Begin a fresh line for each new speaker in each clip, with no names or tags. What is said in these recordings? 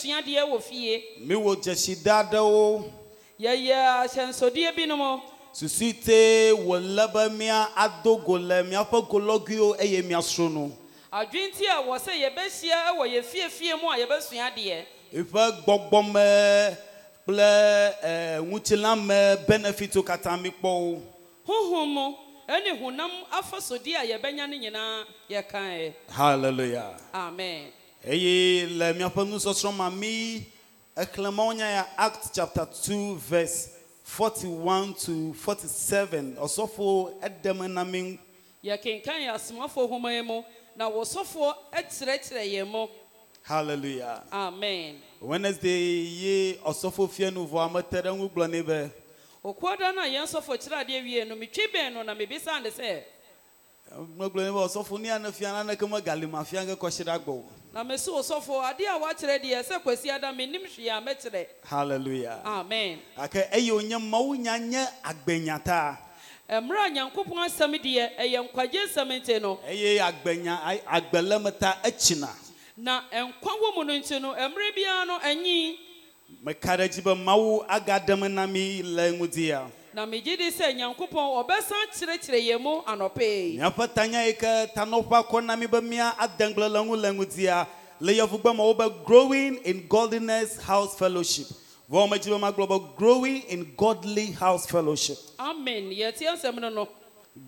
suadeɛ wɔ fie
mewɔ gyahyida aɖewo
yɛyɛ ahyɛnsodeɛ binom
susite wòle be mía ado go le míaƒe golɔguiwo eye míasro nu
adwenti a wɔ sɛ yɛbɛhyia wɔ yɛ fiefie mu a yɛbɛsua adeɛ
eƒe gbɔgbɔme kple eh, ŋutilame benefitwo katã mikpɔ wo
honhom mu ɛne honam afasodeɛ a yɛbɛnya no nyinaa yɛkae
hallelujah
amen
eye le míaƒe nusɔsrɔ̃ ma mí exlẽ mawunya ya act chapter two verse forty one to forty seven ɔsɔfo eɖeme na mí
yɛkenkan yɛ asomafoɔ homan mu na wɔsɔfoɔ kyerɛkyerɛ yɛn mu
hallelujah
amen
wednesday ye ɔsɔfo fianuvɔ ame te ɖe ŋu gblɔ nɛ be
okuoda no a yɛn sɔfo kyerɛ adeɛ wie no metwi bɛn no na mebisa ne sɛ
megblɔ nɛ be ɔsɔfo ne ya ne fia naneke megali mafia ge kɔsi ɖe agbɔ o
na mese wo sɔfo adeɛ a woakyerɛ deɛ sɛ kwasi ada menim hwee a mɛkyerɛ
hallelujah
amen
gake eye wonye mawunya nye agbenya ta
mmerɛ a nyankopɔn asɛm deɛ ɛyɛ nkwagye nsɛm nti no
eye agbenya ai- agbeleme ta etsina
na nkwa wɔ mu no nti no mmerɛ biara no anyi
meka ɖe edzi be mawu agaɖeme na mí le ŋudia
na megye di sɛ nyankopɔn ɔbɛsan kyerɛkyerɛ yɛn mu anɔpee
míaƒe tanya yi ke tanɔƒea kɔ na mí be mía adegble le ŋu le ŋudia le yevugbe mawo be growing in godliness house fellowship vɔ medzi be magblɔ be growing in godly house fellowship
amen yɛteɛ nsɛm no no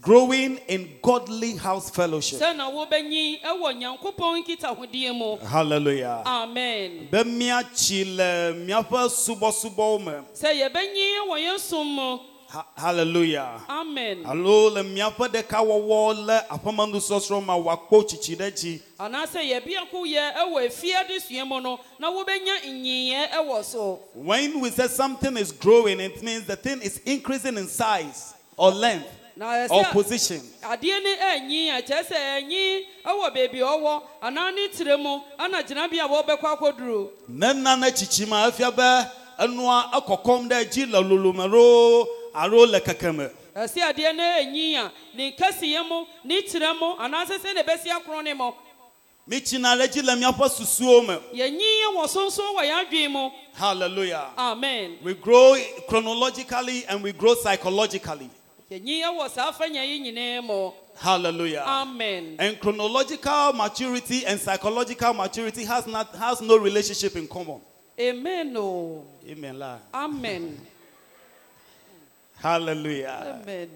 growing in godly house fellowship
sɛ na wobɛnyi ɛwɔ nyankopɔn nkitahodie mu
hallelujah
amen
be míatsi le míaƒe subɔsubɔwo me
sɛ yɛbɛnyi ɛwɔ yɛn som mu
Ha- hallelujah
amen
alo le míaƒe ɖekawɔwɔ le aƒemenusɔsrɔ̃ ma wòakpɔ tsitsi ɖe dzi
anaasɛ yɛbeako yɛ ɛwɔ afie de sua mu no na wobɛnya nyiiɛ ɛwɔ so
When we say something is growing, it means the thing is increasing in size or length
na
or
ɛsɛ
position.
adeɛ ne anyi a kyerɛ sɛ anyi ɛwɔ baabi a ɔwɔ anaa ne tire mu ana gyinabea a wɔbɛkɔ akɔduru
Ne nane tsitsi ma efia be enua ekɔkɔm ɖe edzi le lolome ɖo alo le keke me.
ɛsɛ adeɛ ne anyi a ne nkasiɛ mu ne tire mu anaasɛ sɛ ne bɛsi akoro ne mu
Mitsina ɖe edzi le míaƒe susuwo me.
yɛnyi ɛwɔ sonson wɔ yɛn adwene mu
Hallelujah.
amen
We grow chronologically and we grow psychologically.
yɛnyi ɛwɔ saa afanya yi nyinaa mu Um,
Hallelujah.
amen
And chronological maturity and psychological maturity has not has no relationship in common.
amen o
Amen. lah.
amen
Hallelujah.
amen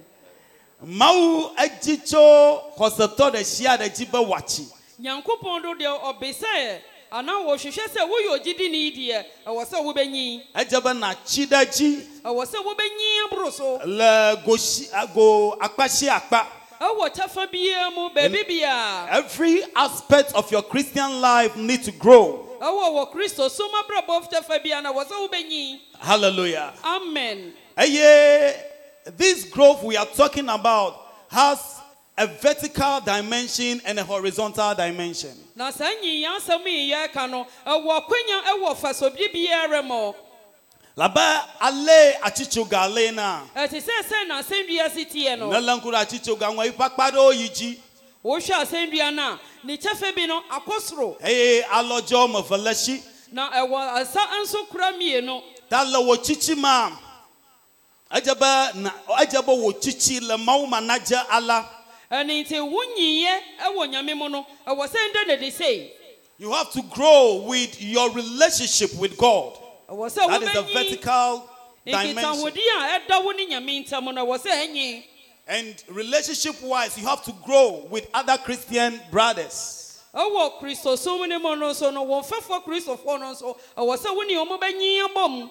mawu edzi tso xɔsetɔ ɖe sia ɖe dzi be wòatsi
nyankopɔn do deɛ ɔbɛsɛ anaa wɔhwehwɛ sɛ woyɛ ogyidini yi deɛ ɛwɔ sɛ wobɛnyi
edze be nàtsi ɖe dzi
ɛwɔ sɛ wobɛnyi aboro so
le go si go akpa si akpa
ɛwɔ kyɛfa biara mu baabi biara
every aspect of your christian life need to grow
ɛwɔ wɔ kristo som abrabɔ kyɛfa biara na ɛwɔ sɛ wobɛnyi
hallelujah
amen
eye this growth we are talking about has a vertical dimension and a horizontal dimension
na saa nyiyi asɛm yi yɛreka no ɛwɔ kwanya ɛwɔ fasobie biara mu
labe ale atsitsoga le na
ɛte sɛ sɛ na asɛndua si teɛ no
ne le ŋku ɖe atsitsoga ŋu eƒe akpa ɖewo yi dzi
wohwɛ asɛndua no a ne kyɛfa bi no akɔ soro
eye alɔdze wɔme eve le si.
na ɛwɔ asa nso kora mmienu
ta le wò tsitsi ma edze be na edze be wò tsitsi le mawu ma nadze ala
ɛne nti wo nyiiɛ ɛwɔ nyame mu no ɛwɔ sɛ ndɛ na de sei
you have to grow with your relationship with god
ɛwɔ sɛ
that is the
wobɛnyi
vertical dimension
nkitahodi a ɛda wo ne nyame ntam no ɛwɔ sɛ ɛnyi
and relationship wise you have to grow with other christian brothers
ɛwɔ kristosom no mu no nso no wɔ mfɛfoɔ kristofoɔ no nso ɛwɔ sɛ wo ne ɔmo bɛnyi abɔ mu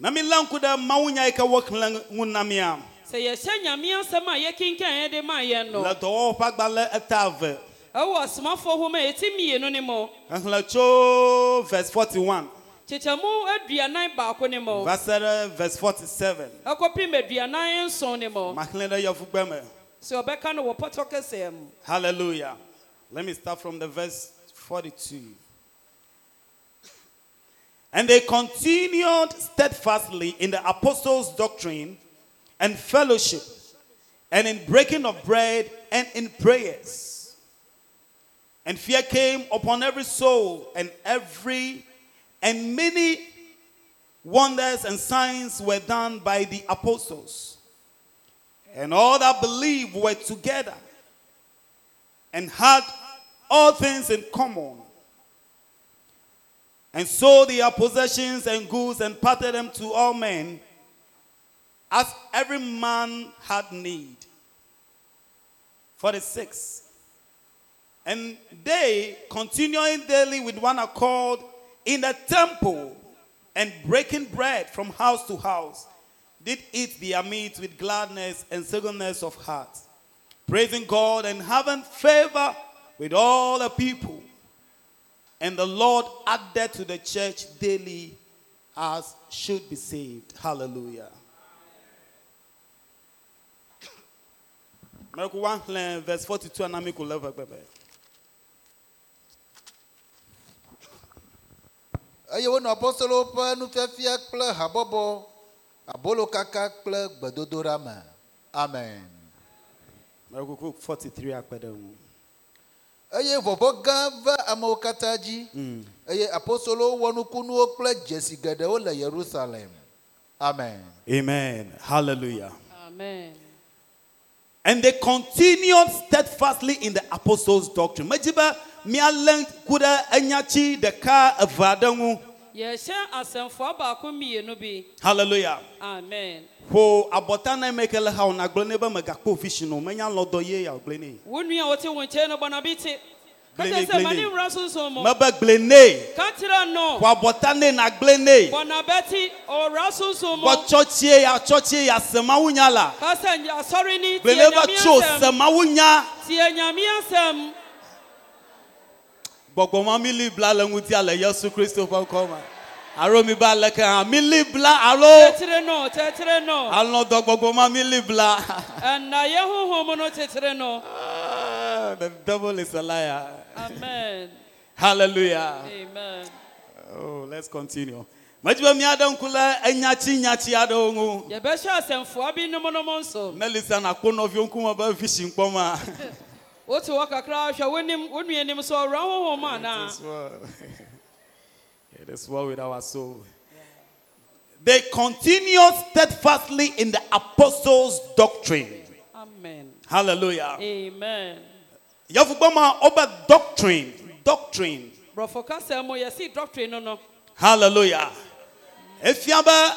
na mi lé ŋku ɖe mawu nya yi ke wɔkele ŋu na mia
sɛ yɛhyɛ nyame asɛm a yɛkenkan yɛ de maa yɛn no
le dɔwɔwɔ ƒe agbalẽ eta eve
ɛwɔ asomafoɔ hom a ɛti mmienu ne mu
exlẽ tso verse forty one
kyekyɛ mu aduanan baako ne mu
va se ɖe verse forty seven
ɛkɔpem aduanan nson ne mu
ma xlẽ ɖe yevugbe me.
sɛ ɔbɛka no wɔ pɔtɔ kɛseɛ mu
Hallelujah. Let me start from the verse 42. And they continued steadfastly in the apostles' doctrine and fellowship, and in breaking of bread and in prayers. And fear came upon every soul, and every And many wonders and signs were done by the apostles. And all that believed were together and had all things in common. And sold their possessions and goods and parted them to all men as every man had need. 46. And they, continuing daily with one accord in the temple and breaking bread from house to house, did eat their meat with gladness and singleness of heart, praising God and having favor with all the people. And the Lord added to the church daily as should be saved. Hallelujah. Mẹ̀rẹ̀kú wá hlẹ̀ eh, verse forty two ẹ̀nà mi kò lẹ́fẹ̀ẹ́ pẹ̀pẹ̀.
eye wonɔ apɔsolowo ƒe nufiafia kple habɔbɔ abolo kaka kple gbedodoɖa me amen
Mẹ̀rẹ̀kú kú forty three akpẹ̀dẹ̀ ŋu.
eye vɔvɔ̃ gã va amewo katã dzi eye apɔsolowo wɔ nukunuwo kple dzesi geɖewo le yerusalem amen
Amen. Hallelujah.
Amen.
And they continued steadfastly in the apostles' doctrine. Medzibe mialé ku ɖe enyatsi ɖeka eve aɖe ŋu.
Yɛhyɛ asɛmfoɔ baako mmienu bi.
Hallelujah.
Amen.
Ƒo abɔta na ame yi ke le hawo nagblẽ nɛ be megakpɔ ofiisi na o menya lɔdɔ ye yeagblẽ nɛ.
Wo nua a wote wo nkyɛn no bɔ na bi te. Ka
Gblene,
kyerɛ sɛ ma
gblene.
ne nwura sunsun mu.
Mebe gblẽ nɛ.
Ka kyerɛ no.
Ƒo abɔta nɛ nagblẽ nɛ.
Bɔ na bɛti ɔwura sunsun mu.
Bɔ tsɔtsie ya tsɔtsie ya semawunya la.
Ka sɛ nya- asɔre ni tie
Gblẽ nɛ va
nyame
tso
asɛm.
semawunya.
Tie nyame asɛm.
gbɔgbɔ ma mi libla le ŋutia le yesu kristu ƒe ŋkɔ me alo mi ba leke hã mi libla alo
Tɛtɛrɛ no tɛtɛrɛ no.
alɔdɔ gbɔgbɔ ma mi libla
Ɛna yɛ huhum no tɛtɛrɛ no.
Ah, the devil is a liar
Amen.
hallelujah
Amen.
oh let's continue medzibe miaɖe ŋku le enyatsi nyatsi aɖewo ŋu
Yɛbɛhyɛ asɛmfoɔ bi nomonom nso.
melisa nakpɔ nɔviwo ŋkume be visi ŋkpɔma
Wote hɔ kakra hwɛ wo nim- wo nua nim sɛ ɔwura huhum anaa?
it is well with our soul they continued steadfastly in the apostles doctrine
Amen.
hallelujah
Amen.
Yavugbama over doctrine, doctrine.
Brɔfo kasa mu yɛsi doctrine no no.
Hallelujah. Efiaba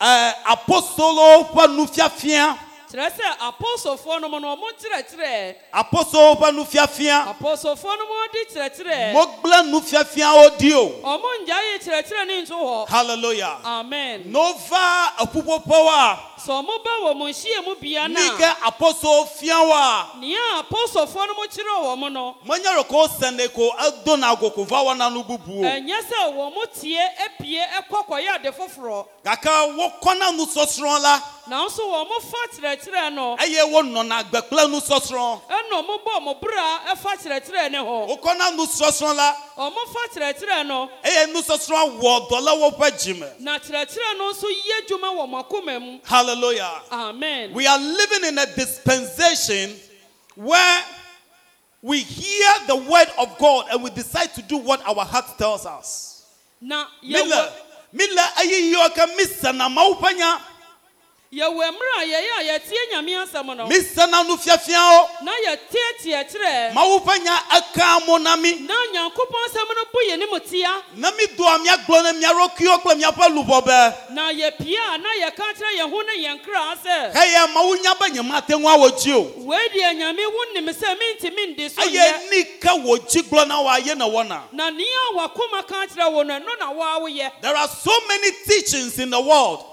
eh apostolo ƒe nufiafia,
Kyerɛ sɛ apɔsofoɔ no mu no ɔmo kyerɛkyerɛ.
apostolo ƒe nufiafia,
Apɔsofoɔ no mu ɔdi kyerɛkyerɛ.
mogble nufiafiawo di o.
Ɔmo nya yi kyerɛkyerɛ ne nso hɔ.
Hallelujah.
Amen.
Nova eƒuƒoƒewoa,
Sɛ ɔmo ba wɔ mo nhyia mu bia
ni
na.
ke apostolo fiawoa,
Nea apɔsofoɔ no mo kyerɛ wɔ mo no.
menye ɖeko wosene ko edona go ko va wɔna nu bubu o.
Ɛnyɛ sɛ wɔn mo tie epie ɛkɔ kɔyɛ ade foforɔ.
Gake wokɔna nusɔsrɔ̃ la
Nanso wɔn mo fa kyerɛkyerɛ no.
eye wonɔna agbe kple nusɔsrɔ̃.
Ɛna ɔmo bɔ ɔmo bra ɛfa kyerɛkyerɛ ne ho.
Wokɔna nusɔsrɔ̃ la.
Ɔmo fa kyerɛkyerɛ no.
eye nusɔsrɔ̃ wɔ dɔ le woƒe dzime
Na kyerɛkyerɛ no nso yɛ adwuma wɔ mo akoma mu.
hallelujah
Amen.
we are living in a dispensation where we hear the word of god and we decide to do what our heart tells us
Na
mile
yɛwɔ
mile eyi yiwo ke misena mawu ƒe nya
yɛwɔ mmerɛ a yɛyɛ a yɛtie nyame asɛm no.
misena nufiafiawo
Na yɛtie tiɛkyerɛ.
mawu ƒe nya ekea mo na mi
Na nyankopɔn asɛm no bu yɛn mu tia.
ne mi doa miagblɔ ne miaɖokuiwo kple miaƒe luʋɔ be
Na yɛpia a na yɛka kyerɛ yɛn ho ne yɛn kra sɛ.
heya mawu nya be nye mate ŋu awɔ dzi o
Wei deɛ nyame wo nim sɛ mentimi ndi so nyɛ.
eye ni ke wò dzi gblɔ na wòa ye ne wɔna
na nea wakoma ka kyerɛ wo no ɛno na woa woyɛ
There are so many teachings in the world.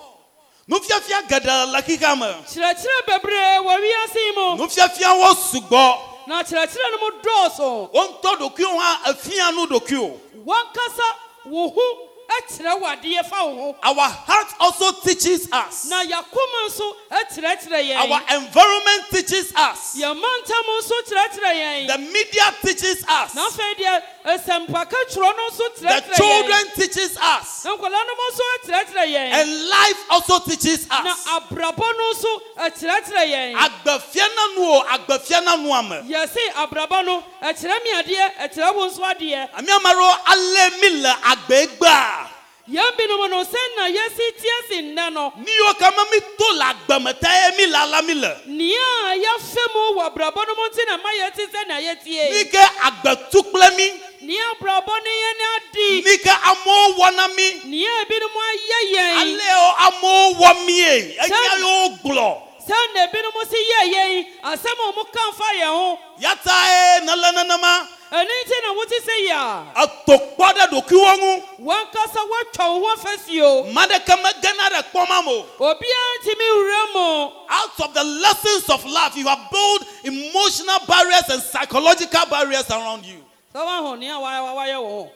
Nufiafia geɖe le xixa me.
kyerɛkyerɛ bebree wɔ wiase yi mu
Nufiafiawo sugbɔ.
na kyerɛkyerɛ no mu dɔɔso
Wo ŋutɔ ɖokuiwò hã efia nu ɖokuiwò.
wankasa wo ho kyerɛ wo adeɛ fa wo ho
Our heart also teaches us.
na yɛakoma nso kyerɛkyerɛ
Our
yɛn
environment teaches us.
yɛn mantam nso kyerɛkyerɛ
The
yɛn
media teaches us.
na afei deɛ nsɛmpaka twerɛ no nso
The
kyerɛkyerɛ yɛn
children teaches us.
na nkwadaa no mu nso kyerɛkyerɛ yɛn
And life also teaches
na
us.
abrabɔ no nso kyerɛkyerɛ yɛn
Agbefiana nu o, agbefiana nu ame.
yɛse abrabɔ no kyerɛ me adeɛ kyerɛ wo nso adeɛ
Ami amaro ale mi le agbe gbea.
yɛn binom no sɛ na yɛsi tie si nnɛ no
Ni yiwo ke me mi to le agbeme ta ye mi le ala mi le.
nea a yɛafɛ mu wɔ abrabɔ no mu nti na ma yɛte sɛ na
Ni
yɛtie
ke agbe tu kple mi.
nea abrabɔ ne yɛ ne adi
Ni ke amewo wɔ na mi.
nea ebinom ayɛ yɛn
Ale o amewo wɔ mi ye. Enya yiwo gblɔ.
sɛ na ebinom si yɛ yɛn asɛm a ɔmo kamfa yɛn ho
Yata ye ne le nenema.
ɛno nti na wote sɛ yɛ a
Eto kpɔ ɖe ɖokuiwo ŋu.
wankasa woatwa wo ho afasuo
Ame aɖeke megena ɖe kpɔma mo.
obiara ntumi nwura mu
Out of the lessons of life, you have built emotional barriers and psychological barriers around you.
sɛ woaho nea wa- wa- wayɛ wo ho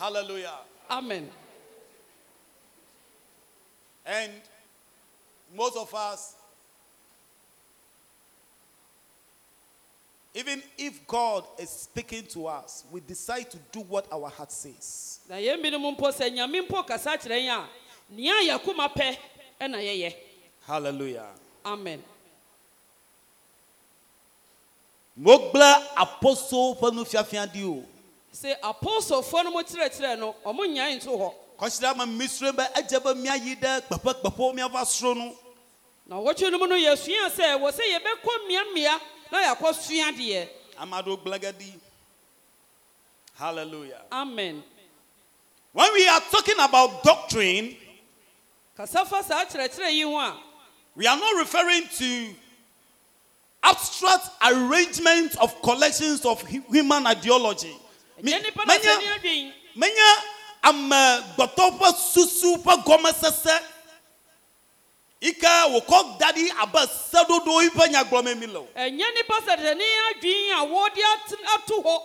Hallelujah.
amen
And most of us, even if God is speaking to us, we decide to do what our heart says.
na yɛn binom mpo sɛ nyame mpo kasa kyerɛ yɛn a nea yɛkoma pɛ ɛna yɛyɛ
Hallelujah.
amen
Mogble apostle ƒe nufiafia ɖi o.
sɛ apostlefoɔ no mo kyerɛkyerɛ no ɔmo nyae nto hɔ
Kɔsira me misre be edze be miayi ɖe gbeƒe gbeƒewo miava sro nu.
na wɔtwe no mu no yɛsua sɛ wɔ sɛ yɛbɛkɔ mmeammea na yɛakɔ sua deɛ
Ame aɖewo gble ge ɖi. Hallelujah.
amen
When we are talking about doctrine,
kasa fa saa kyerɛkyerɛ yi ho a
we are not referring to abstract arrangements of collections of hu- human ideology. Mi-
ɛyɛ nnipa na
menya-
sɛne adwen
menya amegbetɔ ƒe eh, susu ƒe gɔmesese yi ke wòkɔ da ɖi abe seɖoɖo yi ƒe nyagblɔme mi le o.
ɛnyɛ nnipa sɛ sɛne adwen a wɔde at- ato hɔ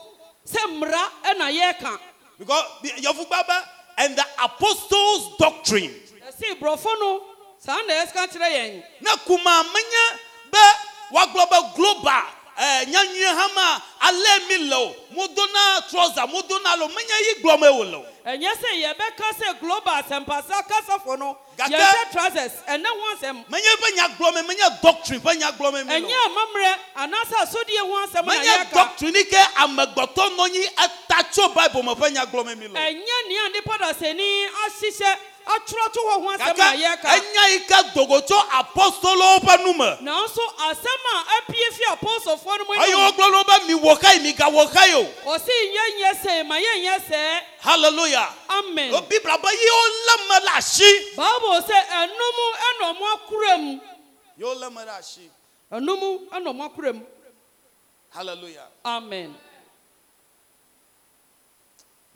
sɛ mmara ɛna yɛreka
because the- yevugba be and the apostles doctrine
ɛse borɔfo no saa na yɛseka kyerɛ yɛn
ne kuma menye be woagblɔ be global eh, nyanyuie hã ma ale mi le o modona trɔza modona lo menye yi gblɔme wòle o.
ɛnyɛ sɛ yɛbɛka sɛ global asɛmpasa kasafo no
Gata-
yɛhyɛ trousers ɛnɛ ho asɛm
menye eƒe nyagblɔme menye doctrine ƒe nyagblɔme mi le
ɛnyɛ
o.
amammerɛ anaasɛ asɔdeɛ ho asɛm na
menye
yɛka
doctrine yi ke amegbetɔ nɔ anyi eta tso bible me ƒe nyagblɔme mi le o.
ɛnyɛ nea nipa dasani ahyehyɛ atwerɛ to hɔ ho asɛm
gake
na yɛka
enya yi ke dogo tso apostolowo ƒe nu me
nanso asɛm a apie fi apɔsɔfoɔ no mu
eye
anim
wogblɔ na wo be miwɔ xai migawɔ xai o
ɔse yɛnyɛ sɛ ma yɛnyɛ sɛ
hallelujah.
amen
o bibla be yiwo lé me ɖe asi.
bible sɛ ɛnom ɛna ɔmo akora mu
yiwo lé me ɖe asi
ɛnom ɛna ɔmo akora mu
hallelujah.
amen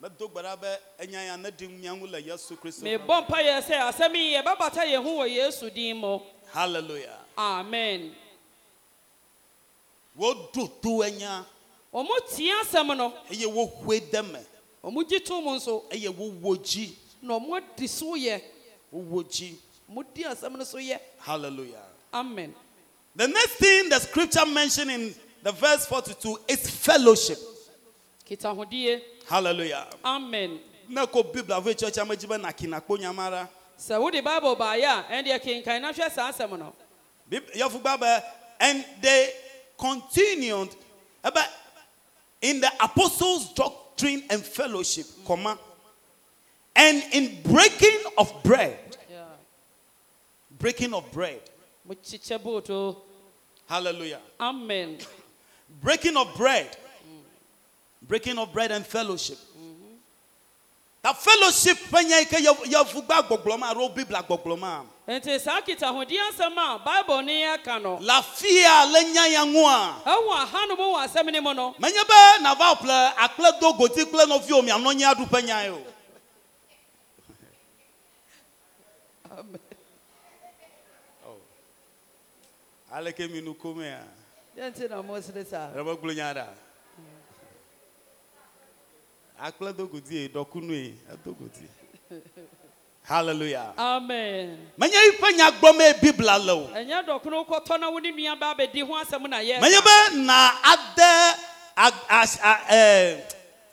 medo gbe ɖa be enya ya ne ɖi mia ŋu le yesu kristu me.
mebɔ mpa yɛ sɛ asɛm yi yɛbɛbata yɛn ho wɔ yesu din mu
hallelujah.
amen
woɖo to enya
ɔmo tie asɛm no
eye wohoe de me
ɔmo gye to mu nso
eye wowo dzi
na ɔmo adi so yɛ
wowo dzi
ɔmo di asɛm no so yɛ
hallelujah.
amen
the next thing the scripture mentioned in the verse forty-two is fellowship
kitahodie
hallelujah.
amen
ne ko bibla ve tsɔtsa me dzi be nakina kpo nyama ɖa.
sɛ wode bible baeɛ a ɛndeɛ kenkan na hwɛ saa asɛm no
Bib- Yafugba be, And they continued about in the apostles' doctrine and fellowship, comma, and in breaking of bread. Breaking of bread.
mokyekyɛ booto
Hallelujah.
amen
Breaking of bread. Breaking of bread and fellowship. That fellowship when you ke yafugba gbogloma ro bibla gbogloma.
nti saa kitahodie asɛm a bible ne yɛka no
La fia le nya ya ŋua.
ɛwɔ ahanom wɔ asɛm ne mu no
menye be nava ƒle akple do goti kple nɔviwo mianɔ nyi aɖu ƒe nyae o aleke mi nu komea
nti na mosere saa
remeglo nya ɖa Akple dogodie, dokunue, edogodie. Hallelujah.
amen
Menye yi ƒe nyagbɔme Biblia le o.
ɛnyɛ dɔkono kɔtɔ na wo ne nua ba abɛdi ho asɛm na yɛ
Menye be na ade ag- as- a- eh,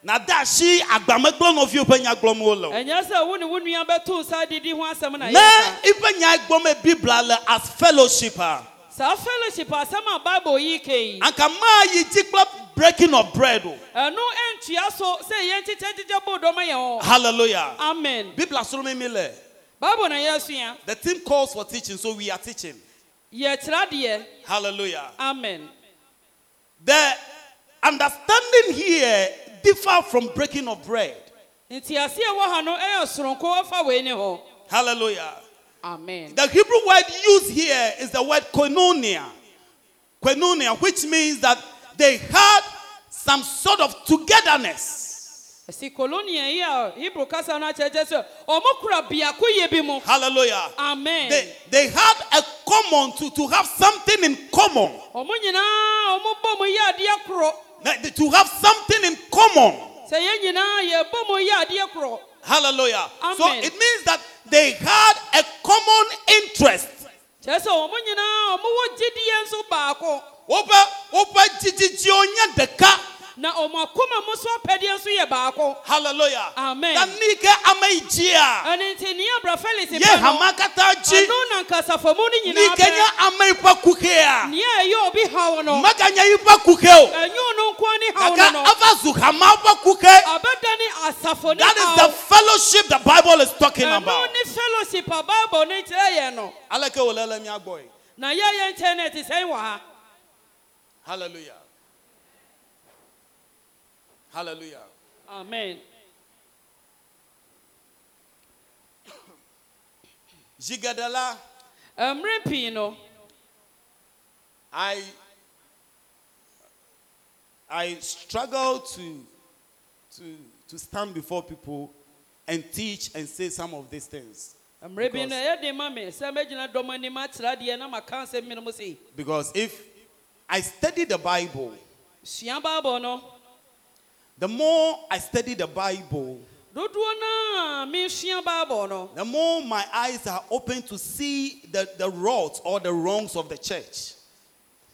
na de asi agbamegblɔ nɔviwo ƒe nyagblɔmewo le o.
ɛnyɛ sɛ wo ne wo nua bɛto nsa didi ho asɛm na
Ne
yɛ
yiƒe nyagbɔme e Biblia le as fellowship a,
saa fellowship asɛm a bible yi kei
anka maa yi dzi kple breaking of bread o.
ɛno ɛntua so sɛ yɛn kyekyɛkyekyɛ bo dɔm yɛn hɔ
Hallelujah.
amen
Biblia sɔrɔ mi mi lɛ.
bible na yɛasua
The theme calls for teaching, so we are teaching.
yɛkyerɛ deɛ
Hallelujah.
amen
The understanding here differ from breaking of bread.
nti ase a ɛwɔ ha no ɛyɛ soronko ɔfa wei ne hɔ
Hallelujah.
amen
The Hebrew word used here is the word koinonia. Koinonia, which means that they had some sort of togetherness.
ɛsi kolonia yi a hebrew kasa no akyerɛkyerɛ sɛ ɔmo kura biako yɛ bi mu
Hallelujah.
amen
They, they had a common to, to have something in common.
ɔmo nyinaa ɔmo bɔ mu yɛ adeɛ korɔ
Like, To have something in common.
sɛ yɛn nyinaa yɛbɔ mu yɛ adeɛ korɔ
Hallelujah. So
Amen.
it means that they had a common interest.
kyerɛ sɛ ɔmo nyinaa ɔmo wɔ gyidie nso baako
Woƒe woƒe dzidzidziwo nye ɖeka.
na ɔmo akoma mo so apɛdeɛ nso yɛ baako
Hallelujah.
Amen.
Na nu yi ke ame yi dzia,
ɛne nti nea abra felix
ye hama katã dzi.
ɛno na nkasafamu no
Nu yi
nyinaa
ke nye
pɛ
ame yi ƒe kuxea,
nea ɛyɛ obi haw no
meganye yi ƒe kuxe o.
ɛnyo no nko ne haw no
Gake
no
eva zu hama ƒe kuxe.
abɛdane asafo ne
That is
haw
the fellowship the Bible is talking about.
ɛno ne fellowship a bible ne kyerɛ yɛn no
Aleke wòle le mía gbɔ yi.
na yɛyɛ nkyɛn no ɛte sɛn wɔ ha
Hallelujah. Hallelujah.
amen
Zi geɖe la,
mmerɛ pii no
I I struggle to to to stand before people and teach and say some of these things.
mmerɛ bi no
Because-
ɛyɛ de ma me sɛ mɛgyina dɔm anim akyerɛ adeɛ na maka nsɛm mi no mu sei
Because if I study the Bible,
sua bible no
the more I study the Bible,
dodoɔ no a mesua bible no
the more my eyes are open to see the, the rods or the wrongs of the church.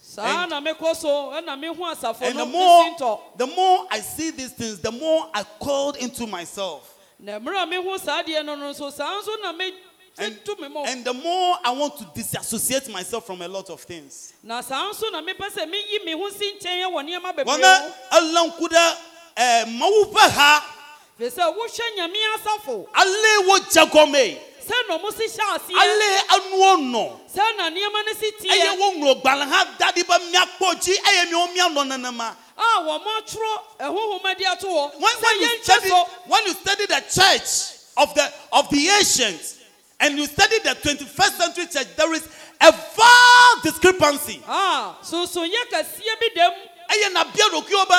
saa
And-
na mekɔ so ɛna mehu asafo
And the
no
more
mesintɔ
the more I see these things, the more I called into myself.
na mmerɛ a mehu saa deɛ no no nso saa nso na me
And,
tu me mu
and the more I want to disassociate myself from a lot of things.
na saa nso na mepɛ sɛ meyi me ho si nkyɛn wɔ nneɛma bebree
wɔne
ho
elanku ɖe eh, mawu ƒe ha
firi sɛ wohwɛ nyame asafo
ale wodze gɔmee
sɛ na ɔmo si hyɛ aseɛ
ale enuwo nɔ
sɛ na nneɛma no si
eye
teɛ
woŋlɔ gbalẽ hã da ɖi be míakpɔ dzi eye míawo míanɔ nenema
a wɔmo atwerɛ ɛhohoma de ato hɔ
when, when,
sɛ
you
yɛnkyɛ
study,
so
when you study the church of the, of the ancients and you study the 21st century church there is a vast discrepancy
a sonsonyɛ kɛseɛ bi da mu
eye nabia ɖokuiwo be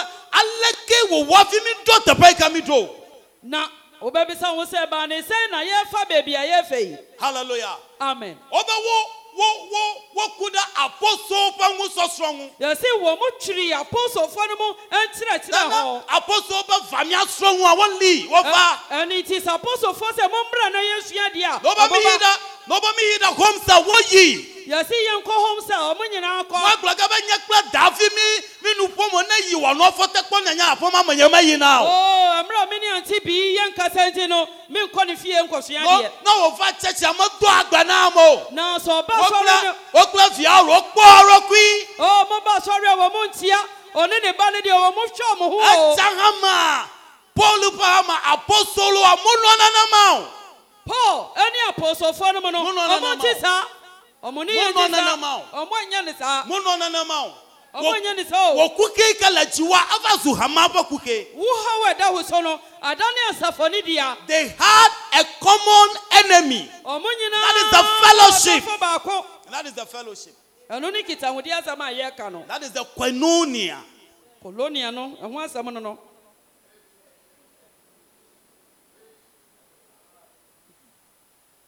aleke wòwɔ fi mi ɖo teƒe yi ke mi ɖo o.
na wobɛbisa wo sɛ ba ne sɛn na yɛfa baabi a yɛfɛ yi
hallelujah.
amen
wobe wo wo wo woku ɖe apostolowo ƒe ŋusɔsrɔ̃ ŋu
yɛse wɔ mo twiri apostlefoɔ no mu ɛnkyerɛkyerɛ
nana
hɔ
apostolowo ƒe vamia srɔ̃ ŋua woli wova
Ɛ- ɛne nti sɛ apostlefoɔ sɛ mommra na yɛsua deɛ a
ne wobe mi yi
ɔbɛba.
ɖe ne wobe mi yi ɖe homsa woyi
yɛse yɛnkɔ hom sɛ ɔmo nyinaa kɔ
magblɔ ge be nye kple davi mi mi nu ƒome ne yi wòanɔ afɔte kpɔ nyanya aƒema me nye me yina o
Oo, mmerɛ a me ne ante bii yɛnkasa nti no menkɔ ne fie nkɔsua
ne
deɛ
ne wòva tsɛtsia medo agba na ame o
na sɛ ɔba sɔre
wokple
no
wokple via ro kpɔ ɔrɔkui
oo moba sɔre a wɔ mo ntia ɔne ne ba no deɛ wɔ mo hwɛ ɔmo ho
etsa
o
hã ma paul ƒe hama apostoloa monɔ nenema o.
paul ɛne apostlefoɔ no mu no
Mo nɔ
ɔmo
nenam
nte saa ɔmo ne
Mo
yɛ
nɔ
nte saa
nenam
ɔmo anyɛ ne saa
monɔ nenema o
ɔmo anyɛ ne saa o
wò kuke ke le dziwa eva zu hama ƒe kuke.
wohaw a ɛda wo so no ada ne asafo ne dea
they had a common enemy.
ɔmo
That is the fellowship.
nyinaafo baako
And that is the fellowship.
ɛno ne kitahodeɛ asɛm a yɛreka no
that is the koinonia.
kolonia no ɛho asɛm no no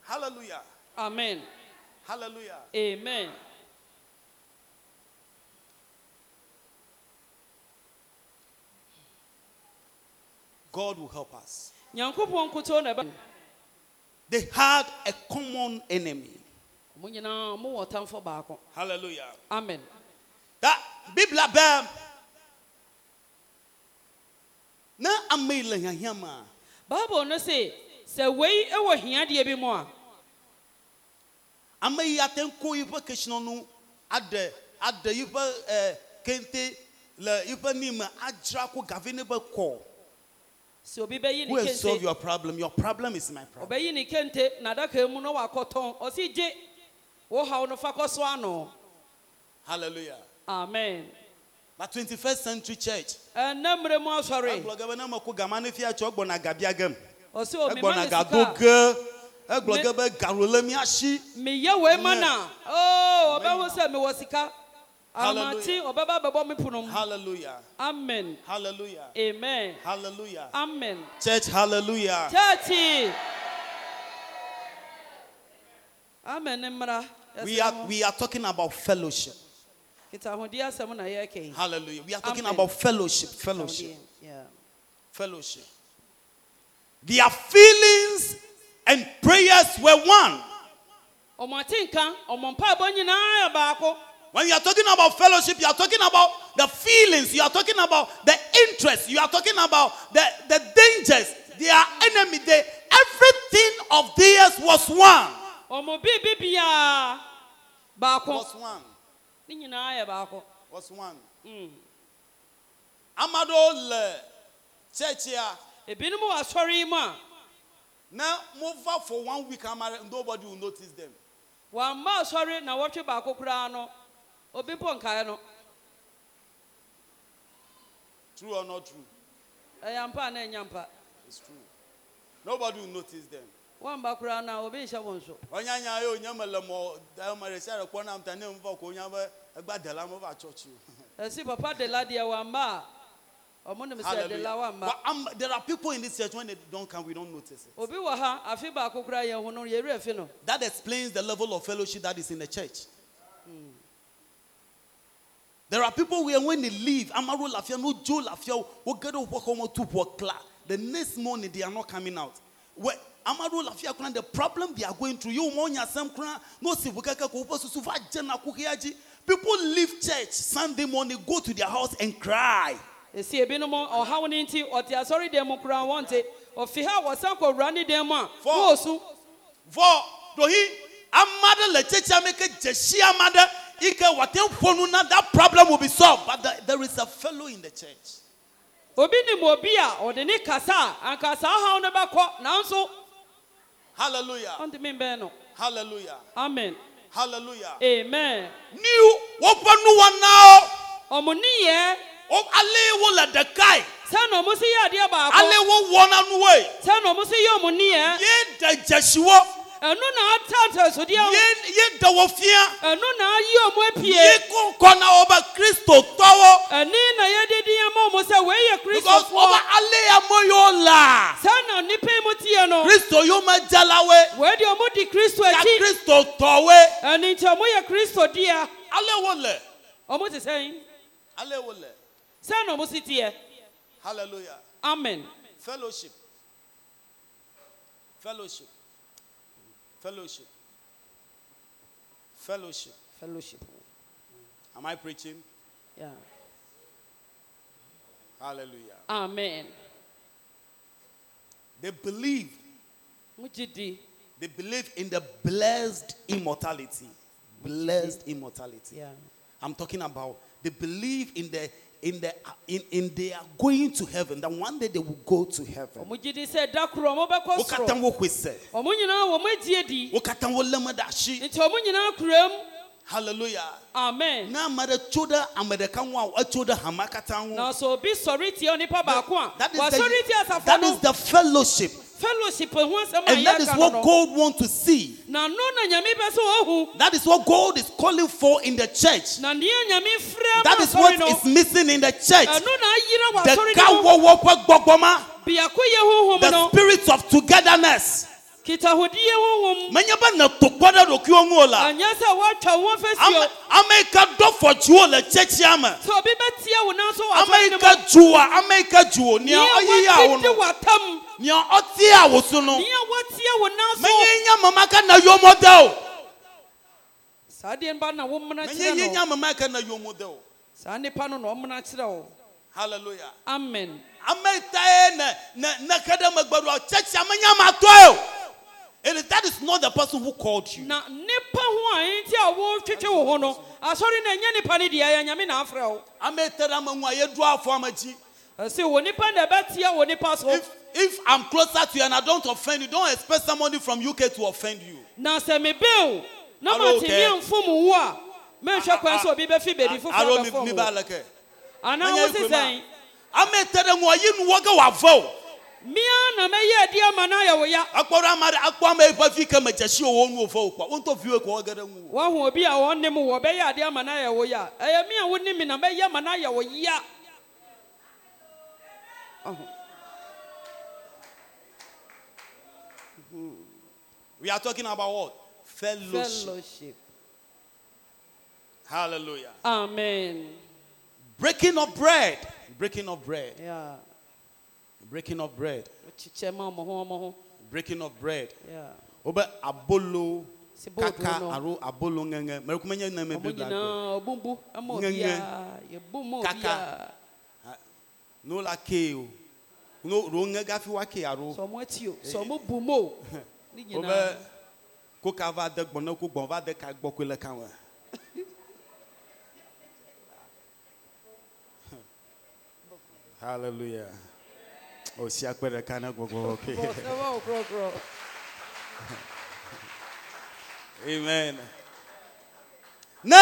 hallelujah
amen
hallelujah.
amen
God will help us.
nyankopɔn nkoto na ɛba
They had a common enemy.
mo nyinaa mowɔ ɔtamfo baako
Hallelujah.
amen
That Biblia bam. Na amele nyanyama.
bible no se sɛ wei wɔ hiadeɛ bi mu a
Ame ya tenko yiƒe keshino nu aɖe aɖe yiƒe eh, kente le yiƒe nime adzra ko gavi ne be kɔ.
sɛ obi bɛyi ne
Who has solved
kente
your problem? Your problem is my problem.
ɔbɛyi ne kente na adaka mu na wakɔtɔn ɔse gye wo haw no fa kɔ so ano
Hallelujah.
amen
But 21st century church.
ɛnɛ mmerɛ mu asɔre
Egblɔ ge be ne meko gama ne fia tsɔ gbɔna gabia gem.
ɔse
Egbɔna
ɔmema
gado
ne Oh, sika
ge. Egblɔ ge be gaɖo le miasi.
a, meyɛ wei ma na o ɔbɛho sɛ mewɔ sika amate
Hallelujah.
ɔbɛba bɛbɔ me pono mu
Hallelujah.
amen
Hallelujah.
amen
Hallelujah.
amen
Church, hallelujah.
church amen ne mmara
We are we are talking about fellowship.
kitahodeɛ asɛm na yɛrkɛi
Hallelujah. We are talking
Amen.
about fellowship. Fellowship.
Yeah.
Fellowship. Their feelings and prayers were one.
ɔmo atenka ɔmo mpaebɔ nyinaa yɛ baako
When you are talking about fellowship, you are talking about the feelings, you are talking about the interests, you are talking about the, the dangers, their enemy, they, everything of theirs was one.
ɔmo biibi biaa baako
one.
ne nyinaa yɛ baako
Was one.
Mm.
Amado le church here.
ebinom wɔ asɔre yi mu a
Now move up for one week, Amado, nobody will notice them.
wɔamma asɔre na wɔtwe baako koraa no obi mpo nkae no
True or not true?
ɛyɛ mpa a na ɛnya mpa
It's true. Nobody will notice them.
wɔamba koraa no a obi nhyɛ wɔn so
Onyanya yo nyama le mo da mo re sare kwa nam tane mva ko nyama egba dela mo ba church you.
ɛsi papa de la deɛ wɔamba a ɔmo nim sɛ de la wɔamba
But um, there are people in this church when they don't come, we don't notice it.
obi wɔ ha afe baako koraa yɛn ho no yɛwerɛ fi no
That explains the level of fellowship that is in the church. There are people where when they leave, Amaro Lafia, no Joe Lafia, we get to walk home to work class. The next morning they are not coming out. Where Amaro Lafia, kuna, the problem they are going through, you mourn yourself, kuna, no si wukaka kupa susuva jena kukiaji. People leave church Sunday morning, go to their house and cry.
ɛsi ebinom ɔhaw ne nti ɔte asɔre dan mu koraa wɔnte ɔfi ha a wɔsan kɔ wura ne dan mu a
Four.
na ɔsu
vɔ ɖohi ame aɖe le tsetsea me ke dzesi ame aɖe yi ke wòate ŋu ƒo nu na that problem will be solved but the, there is a fellow in the church
obi nim obi a ɔde ne kasa a anka saa haw no bɛkɔ nanso
hallelujah
ɔnte membɛn no
hallelujah
amen
hallelujah
amen
new woƒe nuwɔnawo
ɔmo niyɛ
wo ale wo le ɖekae
sɛ na ɔmo si yɛ adeɛ baako
ale wowɔna nuwoe
sɛ na ɔmo si yɛ ɔmo niyɛ
ye ɖe dzesi wo
ɛnu na ata ntɛsodeɛ wo
ye ye ɖe wo fia
ɛnu na ayi ɔmo
ye
apie
ko kɔ na wo be kristotɔwo
ɛni na yɛ didi ama ɔmo sɛ wei yɛ
because wo be
kristofoɔ
ale ya me yewo laa
sɛ na nipa yi mo tie no
kristo yomedzelawoe
wei deɛ ɔmo di kristo
ya
akyi
kristo tɔwoe
ɛni nti ɔmo yɛ kristo deɛ
Ale wole.
ɔmo ti sɛn
Ale wole.
sɛ na ɔmo si teɛ
Hallelujah.
amen
Fellowship. Fellowship. Fellowship. Fellowship.
fellowship
Am I preaching?
yeah.
Hallelujah.
amen.
They believe.
mo gye di
They believe in the blessed immortality. Blessed immortality.
Yeah.
I'm talking about they believe in the in the in, in they are going to heaven. That one day they will go to heaven.
ɔmo gye di sɛ da koro ɔmo bɛkɔ
Wokata
soro
wo kwese.
ɔmo nyinaa wɔn adie di
Wokata wo lemadashi.
nti ɔmo nyinaa kura mu
Hallelujah.
amen
na ame ɖe tso ɖe ame ɖeka ŋu a etso ɖe hame katã ŋu.
na sɛ obi sɔre tie onipa baako a
That is the-
wasɔre tie asafo
that is
no
the fellowship
fellowship ho asɛm a
and that is
yɛaka no
what
no
God wants to see.
na no na nyame pɛ sɛ ɔhu
That is what God is calling for in the church.
na nea nyame frɛ ma
That is
asɔre
what
no Uh,
is missing in the church.
ɛno na ayera wasɔre
Ɖeka
no mu
wɔwɔ ƒe gbɔgbɔ ma,
biako yɛ honhom
the
no
spirit of togetherness.
kita ahodie honhom
menye be nèto kpɔ ɖe ɖokuiwo ŋu o la
anyɛ sɛ woatwa wo ho
ame
fɛsio
ame yi ke dɔ fɔtiwo le tsitsia me
sɛ obi bɛtia wo nanso
ame
wɔatɔne
yi ke dzoa ame yi ke dzo nea ɔyeya
nea
wo
wɔtete
no
w'atam
nea ɔtea wo so no
nea wɔtia wo nanso
menye nye mema ke ne yomɔ de o
saa deɛ no ba na wommena
menye
kyerɛ
nye
no
nye mema ke ne yomɔ de o
saa nnipa no na ɔmmena kyerɛ wo
hallelujah.
amen
ame yi tae ne ne ne ke ɖe megbe ɖo tsitsia menye amatɔe e o and that is not the person who called you.
na nnipa ho a ɛnti a wotwetwe wo ho no asɔre no ɛnyɛ nnipa no deɛ ɛnyame na afrɛ wo
ame yi te ɖe ame ŋua ye ɖo afɔ ame dzi.
ɛse wo nipa na ɛbɛtia wo nipa so
if if i'm closer to you and i don't offend you don't expect somebody from uk to offend you.
na sɛ mebeo na
Alo,
mate
kɛ.
me mfom wo a menhwɛ kwan sɛ obi bɛfi baabi
alo
foforɔ
mi mi
bɛfɔm
ba
wo
le ke.
anaa
Menya
wo
ekwe
se
ma.
sɛn
ame yi te ɖe ŋua yi nu wɔ ge wòavɔ o.
mea na mɛyɛ adi ama no ayɛ wo ya
akpɔ ɖe ame aɖe akpɔ ame yi ƒe vi ke me dzesi o wo nu wòvɔ o kpɔ wo ŋutɔ viwo ko wɔ ge ɖe ŋu o.
woahu obi a wɔne m wɔ bɛyɛ ade ama no ayɛ wo ya ɛyɛ me a wonni me na mɛyɛ ama no ayɛ wo ya Oh,
we are talking about what. fellowship
fellowship
hallelujah.
amen
breaking of bread breaking of bread.
Yeah.
breaking of bread
wokyekyɛ ma ɔmɔ ho ɔmɔ ho
breaking of bread
Yeah.
wobe abolo
Si bowl
kaka
no.
aro abolo ŋeŋe mereku menye ne
ɔmo
mebibla
nyinaa ɔbumbu ama
Ŋɛŋɛ.
obiaa yɛbu ma obiaa
Kaka. no la ke o no ro ŋe gafi wa ke aro
sɛ ɔmo ati o
Eh.
sɛ ɔmo bu mo o ne
wobe
nyinaa
koka va de gbɔ ne ko gbɔn va de ka gbɔ koe le ka me hallelujah o sia kpe ɖeka ne gbɔgbɔ
Bɔ,
ok
sɛ wɔwo korɔkorɔ.
amen ne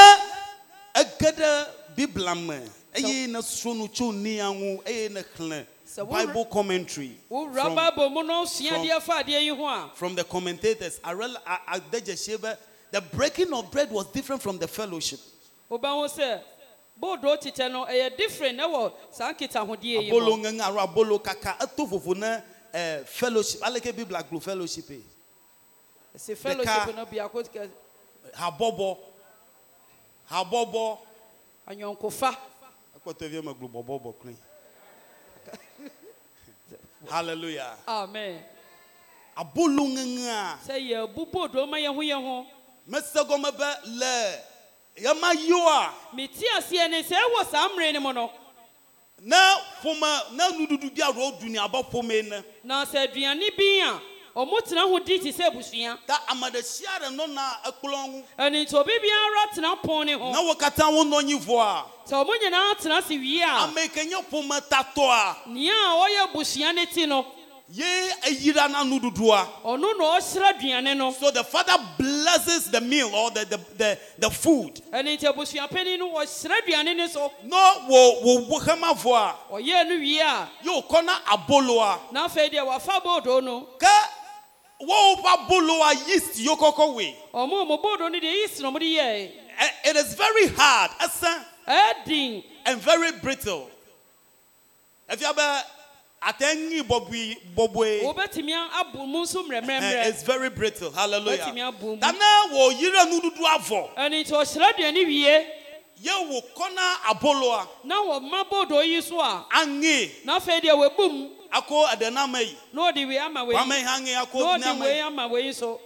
ege ɖe biblia me eye ne srɔ̃ nu tso nia ŋu eye ne xlẽ
Sɛ wo-
bible commentary
wowura
from-
bible mu na ɔsua
from-
deɛ fa adeɛ yi ho a
from the commentators I real- I- I- de dzesi be the breaking of bread was different from the fellowship
wobɛho sɛ boodo tetɛ no ɛyɛ different ɛwɔ saa nkitahodeɛ yi
abolo
mu
ŋeŋe alo abolo kaka eto vovo ne eh, fellowship aleke biblia glo fellowship e
ɛsi fellowship no biako kɛ-
habɔbɔ habɔbɔ
ayɔnkofa
ekpɔtɔ vie me glo bɔbɔbɔ kloe hallelujah
amen
abolo ŋeŋea
sɛ yɛbu boodo ma yɛ ho yɛ ho
mese gɔme be le yema yiwoa
mete aseɛ ne sɛ ɛwɔ saa mmerɛ no mu no
ne ƒome ne nuɖuɖu bi aɖewo ɖuni abe ƒome ene
na sɛ aduane bi a ɔmo tena ho di te sɛ abusua
ta ame ɖe sia ɖe nɔna ekplɔ ŋu
ɛni nti obi biara tena pon ne
ne
ho
wo katã wonɔ anyi vɔa
sɛ ɔmo nyinaa tena se wie a
ame yi ke nye ƒometatɔa
nea a ɔyɛ abusua ne ti no
ye eyi ɖa na nuɖuɖua
ɔno na ɔhyerɛ aduane no
so the father blesses the meal or the the the, the food
ɛni nti abusua panyin no ɔhyerɛ aduane ne so
ne wo wo wo hema vɔa
ɔyɛɛ no wie a
ye wòkɔ na aboloa
na afei deɛ wafa boodo no
ke wo woƒe aboloa yeast yewo kɔkɔ woe
ɔmo a ɔmo boodo no deɛ yi sin ɔmo de yɛɛ
E- it is very hard ese
ɛɛdin
and very brittle efia be ate ŋi bɔbui bɔbue.
wɔbɛtumi abu mu nso
Eh,
mmerɛmrɛmrɛ
it's very brittle. Hallelujah.
Wetin ya bu mu?
Dana wo yire nududu avɔ.
ɛni nti ɔhyerɛ aduane wie
Ye wo kɔna aboloa.
na wɔma boodo yi so a
Ange
na afei deɛ wɔabu mu.
ako adename yi.
na ɔde wei ama wei
Wame hange ako
na ɔde wei
name.
ama wei nso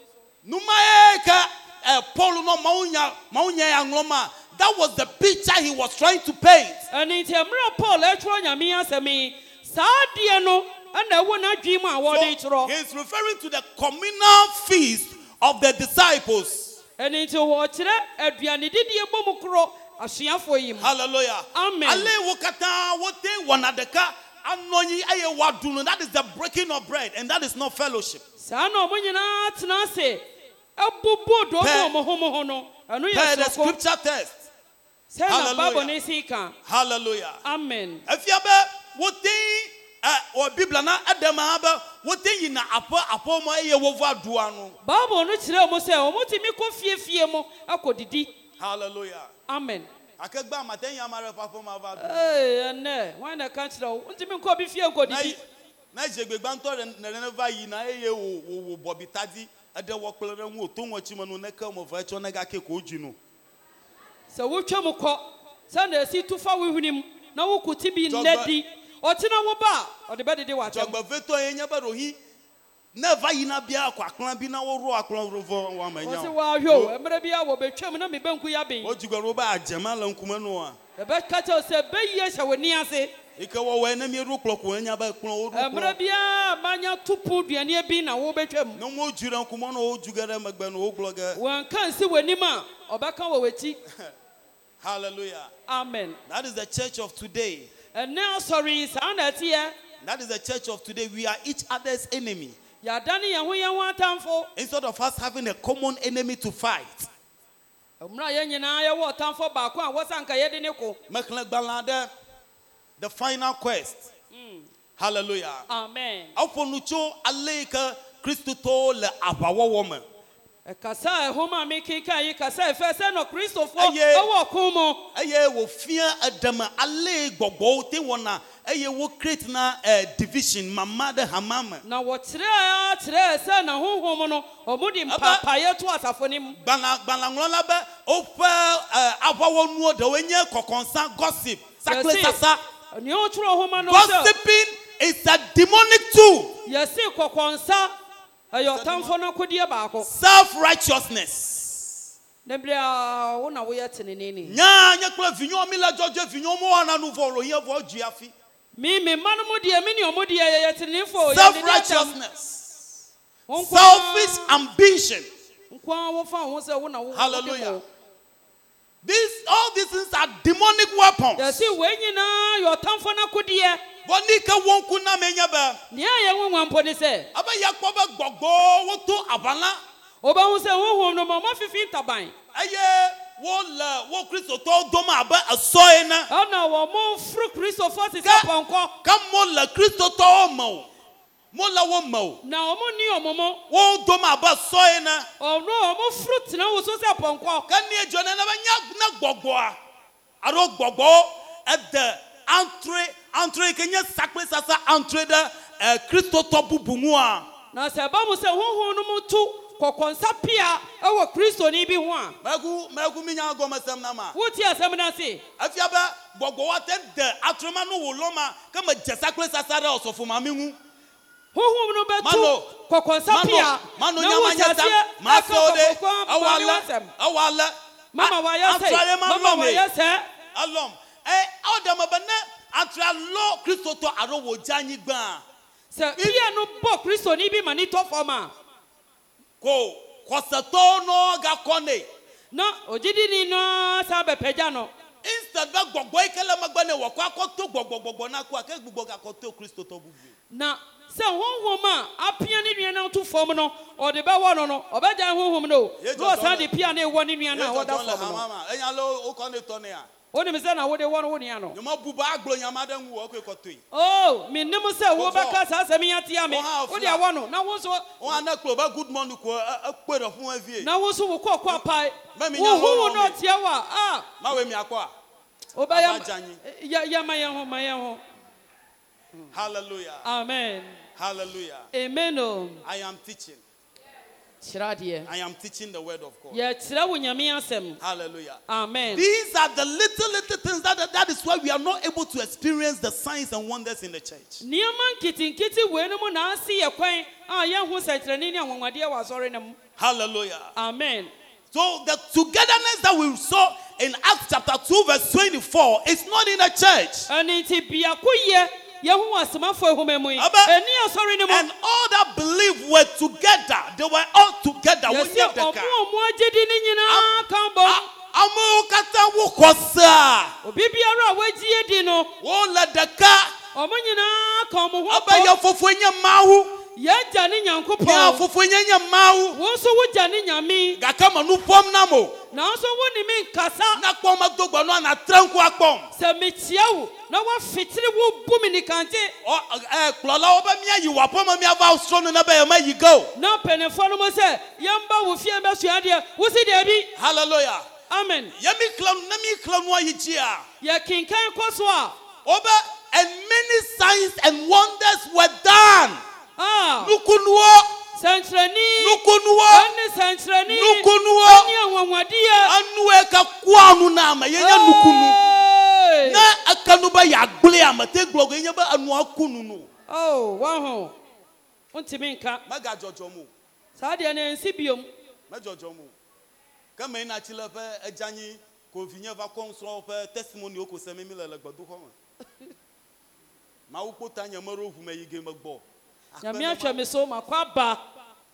Numa ye ka eh, Paul no maunya maunya yangloma. That was the picture he was trying to paint.
ɛne nti mmerɛ paul ɛtwerɛ nyame asɛm yi saa deɛ no ɛna ɛwɔ n'adwene mu a
So
wɔde twerɛ
he's referring to the communal feast of the disciples.
ɛne nti wɔkyerɛ aduane didiɛ bɔ mu korɔ asuafoɔ yi mu
Hallelujah.
Amen.
Ale wo kata wo te wanadeka anonyi aye wadunu. That is the breaking of bread and that is not fellowship.
saa na ɔmo nyinaa tena ase ɛbubu dɔm
Pɛ-
a ɔmo ho mo ho no ɛno
Per
yɛ
the
soroko
scripture text.
sɛ na
Hallelujah.
bible ne si ka
Hallelujah.
amen
Efia be wotin eh o Biblia na edem ha be wotin yi na apo apo mo eye wovu adua no.
bible no kyerɛ mo sɛ ɔmo tumi kɔ fiefie mu akɔdidi
Hallelujah.
amen
Akegba
Uh,
amaten ya mare papo ma va.
ee ɛnɛ wɔn na ɛka kyerɛ wo ntumi nkɔ bi fie
Na
nkɔdidi
yi- ne dzegbe gbãtɔ ɖe- nene ne va yina eye wò- wò wò bɔbitadi eɖe wɔ kple ɖe ŋu wòto ŋɔtsime nu neke wɔme eve etsɔ ne gake ko wodzi nu
sɛ wotwa mu kɔ sɛnea esi tu fa wo hwenem na woku ti bi
Jɔgbe-
nnɛ di ɔtena wo ba a ɔde bɛdede w'atɛm
dzɔgbevɛtɔ ye nye be ɖohi ne va yina bia akɔ akplɔ bi na woɖo akplɔ vɔ wɔme
wɔse
nya
wɔahwɛ o mmerɛ biara wɔbɛtwam na mebɛnku yɛ aben
wodzigbe ɖo be adzema le ŋkume nua
ɛbɛka kyɛw sɛ bɛyie hyɛ wo ni ase
yi ke wɔwɔe ne mieɖo kplɔ ko enya be kplɔ woɖo
mmerɛ
kplɔ
biara manya tupu duaneɛ bi na wobɛtwam
ne ŋu wodzi ɖe ŋkume na wodzu ge ɖe megbe na wogblɔ ge
wɔnka nsi w'anim a ɔbɛka wɔ w'akyi
hallelujah
amen
that is the church of today
ɛnɛ asɔre yi saa na ɛteɛ
that is the church of today we are each other's enemy
yɛadane yɛn ho yɛn ho atamfo
instead of us having a common enemy to fight
mmerɛ a yɛn nyinaa yɛwɔ ɔtamfo baako a wɔsa nka yɛde ne ko
mexlẽ gbalẽ aɖe the final quest hallelujah
amen
aƒo nu tso ale yi ke kristotɔwo le aʋawɔwɔ me
ɛkasa a ɛho eh, ma me kenkan yi kasa eh, a ɛfɛ sɛ nɔ kristofoɔ
Ɛyɛ-
ɛwɔ ɔko mu
eye wòfia eɖeme ale yi gbɔgbɔwo te wɔna eye wocreate na eh, division mama ɖe hama me
na wɔkyerɛ kyerɛ sɛ na honhom no ɔmo de mpapayɛ to asafo no mu
Gbalẽ- gbalẽŋlɔla be woƒe eh, aʋawɔnuwo ɖewoe nye kɔkɔnsa gossip sakle sasa
nea ɔtwerɛ homa no sɛ
gossiping is a demonic tool
yɛse kɔkɔnsa ɛyɛ ɔtamfo no kodeɛ baako
self righteousness
na berɛ a wo na woyɛ tenene ni
nya nye kple vinyɔwo mi le dzɔdzɔe vinyɔwo mewɔna nu vɔ o lo yie vɔ dzi hafi
me me ma no mu deɛ me ne ɔmo deɛ yɛyɛ tenenefo
self righteousness selfish
selfish
ambition
nkoa wofa wo ho sɛ wo na wo
hallelujah these all these things are demonic weapons.
yɛse wei nyinaa yɛ ɔtamfo no kodeɛ
wọ́n ní ike wọ́n kú náà mẹ́yẹ́ bẹ́ẹ̀.
nea yɛwo nwa mpo ne sɛ
abẹ́ yẹ kpọ́ bẹ́ gbọ̀gbọ́ wọ́n tó àbálá.
wobɛhu sɛ honhom no ma ɔma fifi ntaban
ẹyẹ wọ́n lẹ̀ wọ́n kristu tó dọ́mọ abẹ́ ẹ̀sọ́ yẹn náà.
ɛna wɔ mo mforo kristofoɔ te sɛ
Ka-
pɔnkɔ
ká mo lẹ̀ kristu tó wọ́n mọ̀ o mo lẹ̀ wọ́n mọ̀ o
na ɔmo ni ɔmo mo
wọ́n dọ́mọ abẹ́ ẹ̀sọ́ yẹn náà.
ɔno ɔmo foro tena wo so sɛ pɔnkɔ
ká ní ejò náà bẹ́ nyá ná gbọ̀gbọ́ a àrò gbọ̀gbọ́ ẹ̀dẹ̀ antre antre yìí kẹ́ nyẹ́ sakpe sasa antre dẹ́ ẹ̀ kristu tó bubu ŋu a.
na sɛ ɛba mu sɛ honhom no mu to kɔkɔnsa pia ɛwɔ kristoni bi ho a
mẹ́kú mẹ́kú mi nyà gọ́mọ sẹ́mu náà ma.
wotie asɛm no ase
efia be gbɔgbɔ wa te de atrɔmanu wò lɔma ke me dze sakple sasa ɖe ɔsɔfo mami ŋu
honhom no
Mano.
bɛto kɔkɔnsa
mano
pia
mano
na
nyama
wohyɛ
nyata
aseɛ
ma fɔ o
aka
de
kɔkɔnkɔn
ewɔ
maame
alɛ
w'asɛm.
ewɔ alɛ
mama wayɛ
atrɔyɛ
sɛ
ma
mama
lɔm ye
wayɛ sɛ
alɔm ɛ awo dɛmɛ bɛ ne atrɔya lɔ kristotɔ alo wò dze anyigba
sɛ pia no bɔ kristoni bi ma ne tɔ fam a
ko kɔsɛtɔwo nɔ gakɔ ne
na ogyidini no saa bɛpɛgya no
instead bɛ gbɔgbɔ yi ke le megbe ne wɔkɔ akɔto gbɔgbɔgbɔgbɔ na ko ake gbugbɔ gakɔto kristotɔ bubu
na sɛ honhom a apia ne nua no to fam no ɔde bɛwɔ no no ɔbɛgya honhom no o
Yɛ
na
dɔdɔn
ɔsan
lɛ.
de pia ne ɛwɔ ne nua no a wɔda
le
fam
hama
no
ma enya lo wokɔ ne tɔ ne ya.
wonim sɛ na wode wɔ no wo nua no
nyɔmɔ bubu agblɔ nyama ɖe ŋu wɔ ekoe kɔtɔe
o mennim sɛ wobɛka saa sɛm yi atia me
Wo ha ɔfra.
wode awɔ no na wo nso
wọn ana kplɔ be good morning ko e- e- ekpe ɖe fún wọn vie
na wo nso wokɔɔ kɔ apae
Mɛ me nya
wohu
honhom
no
me.
ɔteɛ wɔ a
mawe miakɔa
a
Abagya
wobɛyɛ yɛma yɛn ho ma yɛn ho
hallelujah
amen
hallelujah
amen o
i am teaching
kyerɛ adeɛ
i am teaching the word of god
yɛkyerɛ wo nyame asɛm
hallelujah.
amen
These are the little, little things that, that- that is why we are not able to experience the signs and wonders in the church.
nneɛma nketenkete wei no mu na ase yɛ kwan a yɛho sɛnkyerɛnne ne anwanwadeɛ wɔ asɔre no mu
Hallelujah.
amen
So the togetherness that we saw in Acts chapter 2, verse 24 is not in the church.
ɛne nti biako yɛ yɛho wɔ asomafo ahoma mu yi
Aba-
ɛni asɔre no
And
mu
all that believed were together. They were all together.
yɛsɛ
Wonyɛ
ɔmo
ɖeka.
a ɔmo agyedi no
Ah,
nyinaa ka
A-
bɔ
Amewo katã woxɔ sea.
obi biara a wagyie di no
wole ɖeka
ɔmo nyinaa ka ɔmo ho
abe
bɔ
ya fofoe nye mawu
yɛagya ne
ya
nyankopɔn
fofoe nye nye mawu
wo nso wogya ne nyame
gake me nu ƒɔm nam o
nanso wone me nkasa
nakpɔ medo gbe nua natre ŋku akpɔm
sɛ mekyia wo na woafitiri wo bu me nikante
Ɔ- ɛ, kplɔlawo be míayi wɔ aƒeme míava srɔ̃nu ne be yemeyi ge o
na mpanimfoɔ no mu sɛ yɛmba wo fie bɛsua deɛ wosi deɛ bi
hallelujah
amen
ye mi xlẽ nu ne mi xlẽ nua yi dzia
yɛkenkan kɔ so a
wobe ene many signs and wonders were done.
a
Nukunuo,
sɛnkyerɛni
nukunuo,
ɛne sɛnkyerɛni
nukunuo.
ne anwanwadeɛ
Anu eka kuanu na ama yenye Ah, nukunu.
Hey!
Na akanu ba ya gble ama te glogo yenye ba anu akunu no.
Oh, waho wontumi nka
Maga jojo mu.
saa deɛ no ɛnsi biom
Mẹjọjọ mu. Kẹ́mi iná ti lẹ fẹ́ ẹja yín kò fi yẹn fa kọ́ ń sọ fẹ́ tẹ́símọ́nì ó kò sẹ́mi mi lẹ̀ lẹ́gbẹ̀dún kọ́ mọ̀. Màá wípé ta yẹn mọ́rọ́ òhun mẹ́yìí gé mẹ́gbọ́.
nyame ahwɛ me so makɔ aba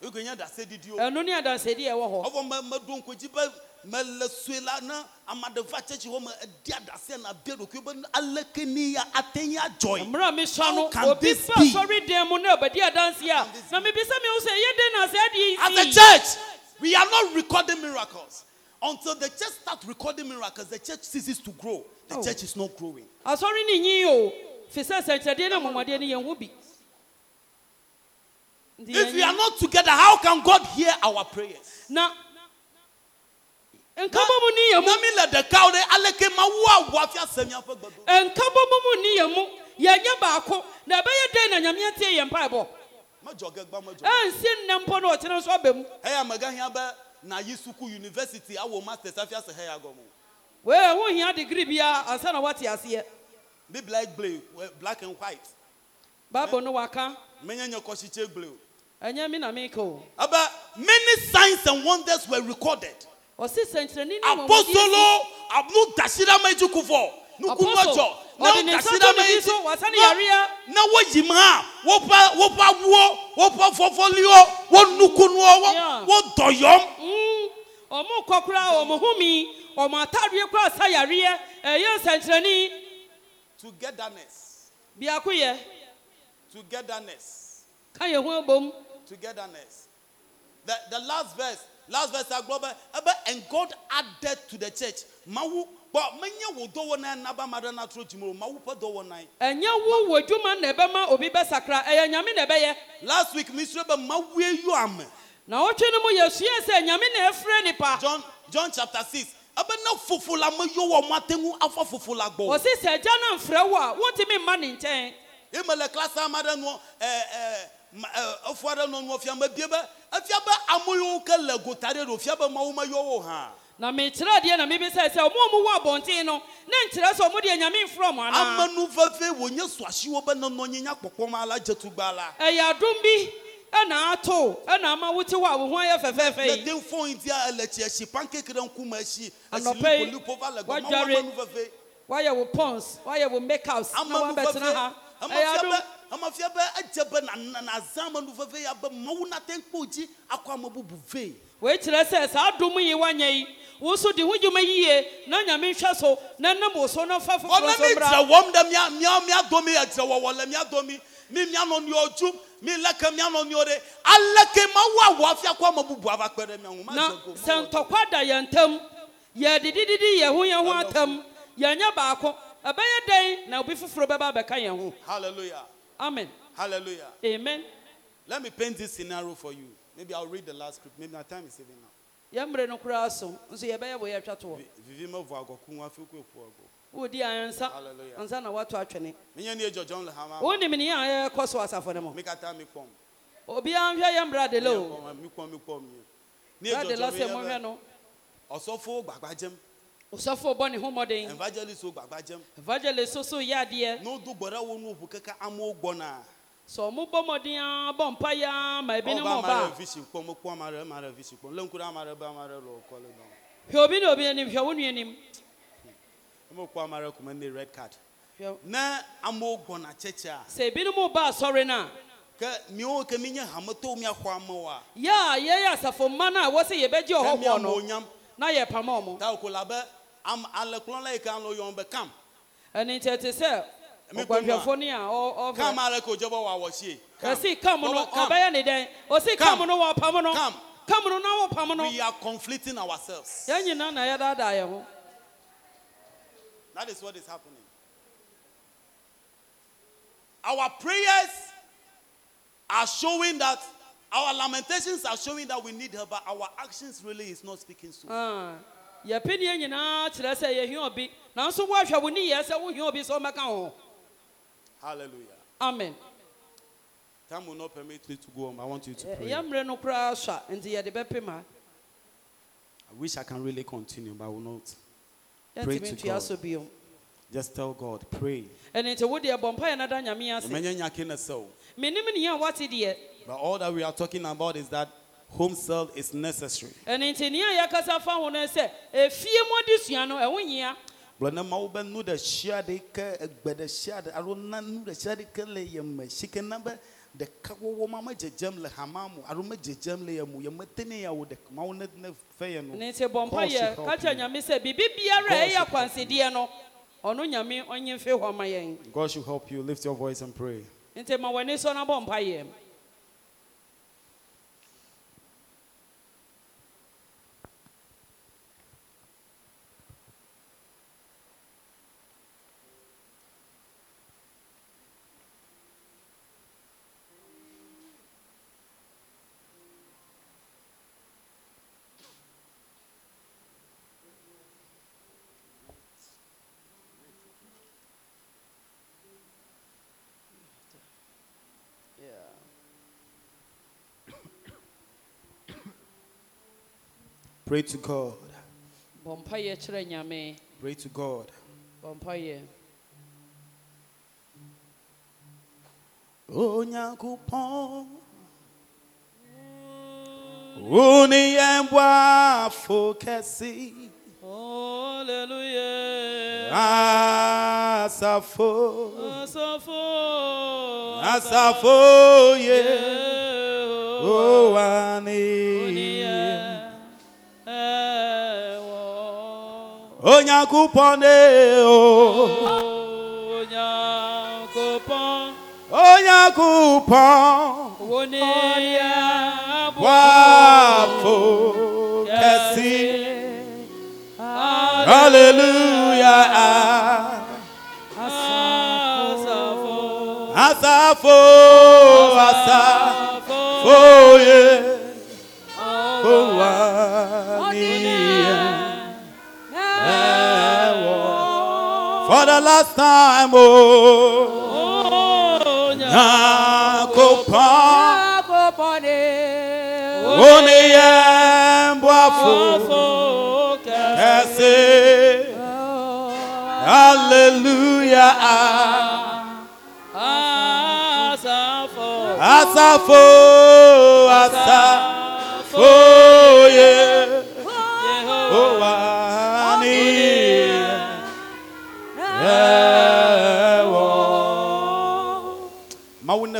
Ego yẹn dà sé didi o.
ɛno ne adansɛdeɛ ɛwɔ hɔ
Ɔfɔ mɛ mɛ do nkodzi bɛ mɛ le sue la na ame aɖe va tsɛtsi hɔ mɛ edi aɖase na bia ɖokui be aleke ni ya ate ŋu adzɔ yi.
mmerɛ a mesua no
How can
obi
this
fa
be?
sɔredan mu na ɔbɛdi adanseɛ
How can this
a na mebisa me wo sɛ ɛyɛ dɛn na sɛ
As
adeɛ
a
yi sii?
church, we are not recording miracles. Until the church starts recording miracles, the church ceases to grow. The
Oh.
church is not growing.
asɔre ne nyi o fi sɛ sɛnkyerɛdeɛ ne mɔmɔdeɛ no yɛnho bi Nti
If we
yɛn-
are not together, how can God hear our prayers?
na nkabɔ mu ne yɛ mu
Nami le ɖeka wo ɖe aleke ma wo awɔ afi ase miaƒe gbedo.
nkabɔ mu mu ne yɛ mu yɛnyɛ baako na ɛbɛyɛ dɛn na nyame tie yɛn mpaebɔ
Medzɔ ge gba medzɔ.
ɛnsi nnɛ mpo na ɔkyena nso aba mu
Heya megahia be na yi suku university awɔ masters afi ase heya gɔme o.
wei wohia degree biara ansa na woate aseɛ
Biblia egble wɔ- black and white.
bible no waka
Menye nye kɔsitsi egble o.
ɛnyɛ me na meka o
Ebe many signs and wonders were recorded.
ɔse sɛnkyerɛne ne mɔmɔdeɛ
Apostolo nu dasi ɖe ame dzi ku vɔ. Nuku
Apostle,
mɔdzɔ. Ne
ɔde ne
wo
nsa
dasi
to
ɖe
ne
ame
bi
dzi.
so wasane
Na-
yareɛ
na woyim hã woƒe woƒe awuwo woƒe fɔfɔliwo wo nukunuwo
Yeah.
wo wo dɔyɔm
Mm, ɔmo kɔ kora ɔmo homi ɔmo atadeɛ kora sa yareɛ ɛyɛ nsɛnkyerɛni
togetherness
biako yɛ
togetherness
ka yɛ ho abom
togetherness the the last verse last verse agblɔ be ebe and god added to the church mawu bɔn menye wo dɔwɔna na be ame aɖe natrɔ dzim o mawu ƒe dɔwɔna ye
ɛnyɛ wo wɔ dwuma na ɛbɛma obi bɛsakra ɛyɛ nyame na ɛbɛyɛ
last week misrɛ be mawue yɔ ame
na wɔtwe no mu yɛsua sɛ nyame na ɛfrɛ nipa
john john chapter six ebe ne fofo la me yɔ wɔ mate ŋu afɔ fofo la gbɔ o.
ɔse sɛ agya no mfrɛ wo a wontumi mma ne nkyɛn
emele klasa ame aɖe nɔ ɛɛ ɛɛ ma- ɛɛ, efo aɖe nɔ nua fiam ebie be efia be ame yiwo ke le gota ɖe ɖo fia be mawo meyɔ wo hã
na mekyerɛ deɛ na mebisa sɛ ɔmo a ɔmo wɔ abɔnten no ne nkyerɛ sɛ ɔmo deɛ nyame mfrɛ mo anaa
amenu vevie wonye suasiwo be nenɔ anyi nyakpɔkpɔ ma la dzetugba la
ɛyɛ adom bi ɛna ato ɛna ama wote hɔ a wo ho ayɛ fɛfɛɛfɛ
le
yi
den fɔ yin dia ele tsi esi pancake ɖe ŋkume esi esi
Anɔpe yi,
lipo lipo va le gbɔ mawo
woadzare.
amenu vevie
wayɛ wo pons wayɛ wo makehouse na
amenu
woabɛtena
vevie
ha ɛyɛ
emefia be
adom
emefia be edze be nana nazã amenu vevie ya be mawo nate kpo dzi akɔ ame bubu vee
wei kyerɛ sɛ saa adom yi woanyɛ yi wo nso de ho dwuma yie na nyame nhwɛ so na nam wo so na fa foforɔ
Ɔne mi
so
dzre
mmra
wɔm ɖe mía mía mía domi edzrewɔwɔ le mía domi. Mi mía nɔnɔewo dzom, mi leke mía nɔnɔewo ɖe. Aleke Mawu awɔ hafi akɔ ame bubu ava kpe ɖe mía ŋu?
na
Madze go,
sɛ
mawɔ dɔ.
ntɔkwa da yɛn ntam yɛdedididi yɛ ho yɛ ho atam yɛnyɛ baako ɛbɛyɛ dɛn na obi foforɔ bɛba abɛka yɛn ho
Hallelujah,
amen
hallelujah.
amen
Let me paint this scenario for you. Maybe I'll read the last script. Maybe my time is even now.
yɛmmerɛ no koraa so nso yɛbɛyɛ wɔ yɛatwa toɔ
Vi- Vivi me vɔ agɔku ŋu hafi ku eku agɔ.
wodi ayɛnsa
Hallelujah.
ansa na woato atwene
Menye nu ye dzɔdzɔm le hama me.
wonim ne yɛ a yɛkɔ so wɔ asafo no mu
Mi katã mi kpɔm.
obiaa nhwɛ yɛ mmra de
Mi
le o
kpɔm, mi kpɔm, mi kpɔm mi. Ne ye
saa de la
dzɔdzɔm
sɛ
ye
mohwɛ
be
no
ɔsɔfowo gbagba dzem,
ɔsɔfoɔ bɔ ne ho mmɔden
evangelistwo gbagba dzem.
evangelist soso yɛ adeɛ
Ne wodo gbɔ ɖe wo nu ʋu keke amewo gbɔna.
sɛ ɔmo bɔ mmɔden a bɔ mpa yɛ a ma ebi ne
Ọba
mɔ
amara
ba
vision kpɔm ekpɔ amara amara vision kpɔm lé ŋku ɖe amara be amara le wòkɔ le nɔ.
a hwɛ obi ne obi anim hwɛ wo nua anim
Eme kpɔ amara kò me ne red card.
Hwɛ-
Ne amewo gbɔna tsɛtsɛa,
sɛ ebinom ba asɔre no a
ke miwo ke mi nye hametɔwo miaxɔ amewoa,
yɛ a yɛyɛ asafo mma no a wɔ sɛ yɛbɛgye
ke
ɔhɔ
mi
hɔ
amewo
no
nyam.
na yɛpama ɔmo
Ta o ko la be am alekplɔ la yi ke alɔ yɔm be kam.
ɛne nti ɛte sɛ
Me kunu a-
ɔgwanhwɛfoɔ ne a ɔ-
Kam
ɔhwɛ
ale ko dze be wòawɔ sie.
ɛsi kam no
Wɔwɔ am.
ɛbɛyɛ ne dɛn ɔsi
Kam.
kam no wɔ pam no
Kam.
kam no na wɔ pam no
We are conflicting ourselves.
yɛn nyinaa na yɛdaadaa yɛn ho
That is what is happening. Our prayers are showing that our lamentations are showing that we need her, but our actions really is not speaking so.
Ah, yɛpiniɛ nyinaa kyerɛ sɛ yɛhia obi nanso woahwɛ wo ne yɛ sɛ wohia obi sɛ ɔmɛka wo ho
Hallelujah.
amen
Time will not permit me to go home. I want you to pray.
yɛ mmerɛ E, no koraa sua nti yɛde bɛpem ha
I wish I can really continue, but I will not. Pray
yɛntumi
to
ntua
God.
so bio
Just tell God, pray.
ɛno nti wodeɛ bɔ mpa yɛ nada nyame ase
Menya nyake na sell.
menim nea wate deɛ
But all that we are talking about is that home cell is necessary.
ɛno nti nea yɛkasa fa ho no sɛ efie mu adesua no ɛho nyia
Blana maube nu da shade ke egbe da shade aro na nu da shade ke le yeme shike na be de ka wo wo mama jejem le hamamu aro me jejem le yemu yeme tene ya wo de ma wo ne ne fe ye no.
ɛno nti bɔ mpa
God should
yɛ
help
ka kyerɛ
you.
nyame sɛ biribi biara
God
a ɛyɛ
should help
akwansedeɛ no ɔno nyame ɔnye mfe hɔ ma yɛn
God should help you. Lift your voice and pray.
nti ma w'ani sɔ na bɔ mpa yɛ
Pray to God.
bɔ mpa yɛ kyerɛ nyame
Pray to God.
bɔ mpa yɛ
Onyankopɔn wone yɛn boafo kɛse
hallelujah
asafo
asafo
asafo ye
Oh,
owane onyankopɔn ne o onyankopɔn boafo kɛse hallelujah asafo asafo Oye, Owania. For the last time, oh, Nyankopɔn, wo ne yɛn boafo kɛse. Hallelujah. Asafo, asafo, ye, Owania. Ɛwɔ. Mawu ne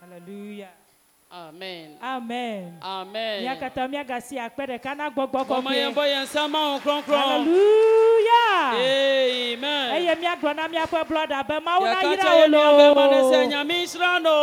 Hallelujah.
Amen.
Amen.
Amen.
Miakata miagasi akpe ɖeka na gbɔgbɔ
Bọ́mọ yẹn
kɔkɔe.
bọ́ yẹn sá máa hàn kúrọ́nkúrọ́n.
Hallelujah.
Amen.
Eye miagblɔ na miaƒe blɔda be mawu na
Yàtọ̀
yi
tí
ɖe
a yẹ ní abẹ́ máa ní
wo
sẹ́,
loo.
Nyàmí Israẹ́lì.